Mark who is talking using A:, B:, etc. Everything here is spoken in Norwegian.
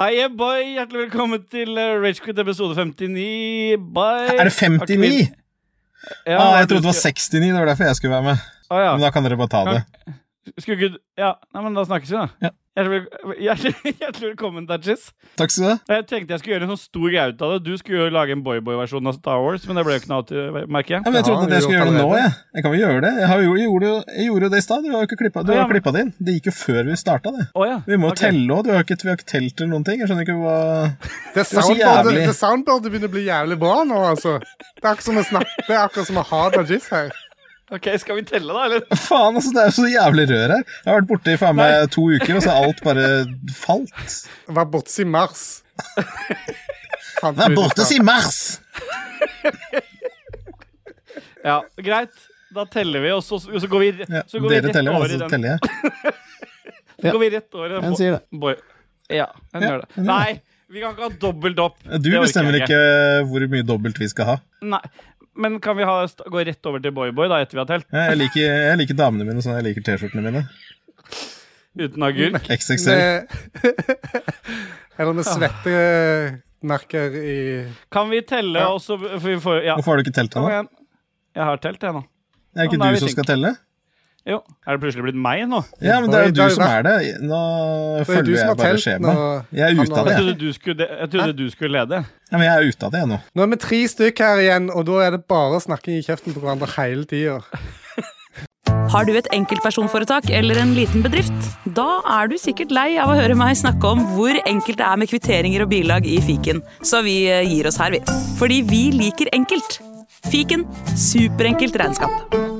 A: Hei, yeah, boy! Hjertelig velkommen til eh, Ragequit episode 59. Bye!
B: Er det 59?
A: Ja,
B: ah, jeg
A: du
B: trodde det var
A: skulle-
B: 69, det var derfor jeg skulle være med.
A: Å, Ah, ja.
B: Men da kan dere bare ta det.
A: Skulle ikke du- Ja, nei, men da snakkes vi, da.
B: Ja.
A: Hjertelig, vel- hjertelig, hjertelig velkommen, Dajis.
B: Takk skal du ha.
A: Jeg tenkte jeg skulle gjøre en sånn stor greie ut av det. Du skulle jo lage en boyboy-versjon av Star Wars, men det ble jo ikke noe av, til- merker jeg.
B: Ja, men jeg
C: Det har
B: trodde at
C: vi
B: jeg skulle gjøre
C: gjort
B: det nå,
C: allerede.
B: jeg. Jeg kan jo gjøre det. Jeg, har jo, jeg, gjorde, jo, jeg gjorde jo det i stad. Du har jo ikke klippa,
A: Ja,
B: du har
A: men-
B: klippet det inn. Det gikk jo før vi starta, det.
A: Å, ja.
B: Vi må jo
A: Ok.
B: telle òg. Vi har ikke telt eller noen ting. Jeg skjønner ikke hva
C: Det
B: var så
C: soundboardet,
B: jævlig.
C: det soundboardet begynner å bli jævlig bra nå, altså. Det er akkurat som å snakke, det er akkurat som å ha Dajis her.
A: Ok, skal vi telle, da, eller?
B: Faen, altså. Det er jo så jævlig rør her. Jeg har vært borte i faen
A: Nei.
B: meg to uker, og så har alt bare falt.
C: Var borte i mars. Fant
B: Det er
C: vi ut i
B: borte
C: stad.
B: siden mars!
A: Ja, greit. Da teller vi, og så, og så går vi, re-
B: Ja,
A: så går vi
B: dere
A: rett
B: teller,
A: over
B: og
A: i
B: så
A: den.
B: teller jeg.
A: Så går vi rett over i den.
D: En
A: bo-
D: sier det.
A: Boy. Ja, en
B: Ja,
A: gjør det.
B: en gjør
A: Nei, vi kan ikke ha dobbelt opp.
B: Du
A: Det orker
B: bestemmer
A: jeg
B: ikke hvor mye dobbelt vi skal ha.
A: Nei, Men kan vi ha, st- gå rett over til boyboy da, etter vi har telt?
B: Jeg liker, jeg liker damene mine sånn jeg liker T-skjortene mine.
A: Uten agurk?
B: XXL.
C: Med- Eller med svettemerker i
A: Kan vi telle,
C: Ja.
A: og så for vi får, Ja,
B: Hvorfor har du ikke telt
A: kom
B: ennå?
A: igjen. Jeg har telt, jeg nå.
B: Er
A: Ja,
B: ikke
A: men da er
B: du
A: vi
B: som
A: synk.
B: skal telle?
A: Jo. Er det plutselig blitt meg nå?
B: Ja, men det er jo
C: Oi, det er
B: du
C: jo
B: som
C: det.
B: er det. Nå
C: Det er du
B: følger
C: som
B: jeg
C: har
B: bare
C: telt nå.
B: skjema. Jeg er
C: Han
B: ute av
C: har-
B: det.
A: Jeg trodde du skulle, jeg trodde du skulle lede.
B: Ja, men jeg er ute av det nå.
C: Nå er vi tre stykk her igjen, og da er det bare snakking i kjeften på hverandre hele tida.
E: Har du et enkeltpersonforetak eller en liten bedrift? Da er du sikkert lei av å høre meg snakke om hvor enkelt det er med kvitteringer og bilag i fiken, så vi eh, gir oss her, vi. Fordi vi liker enkelt. Fiken superenkelt regnskap.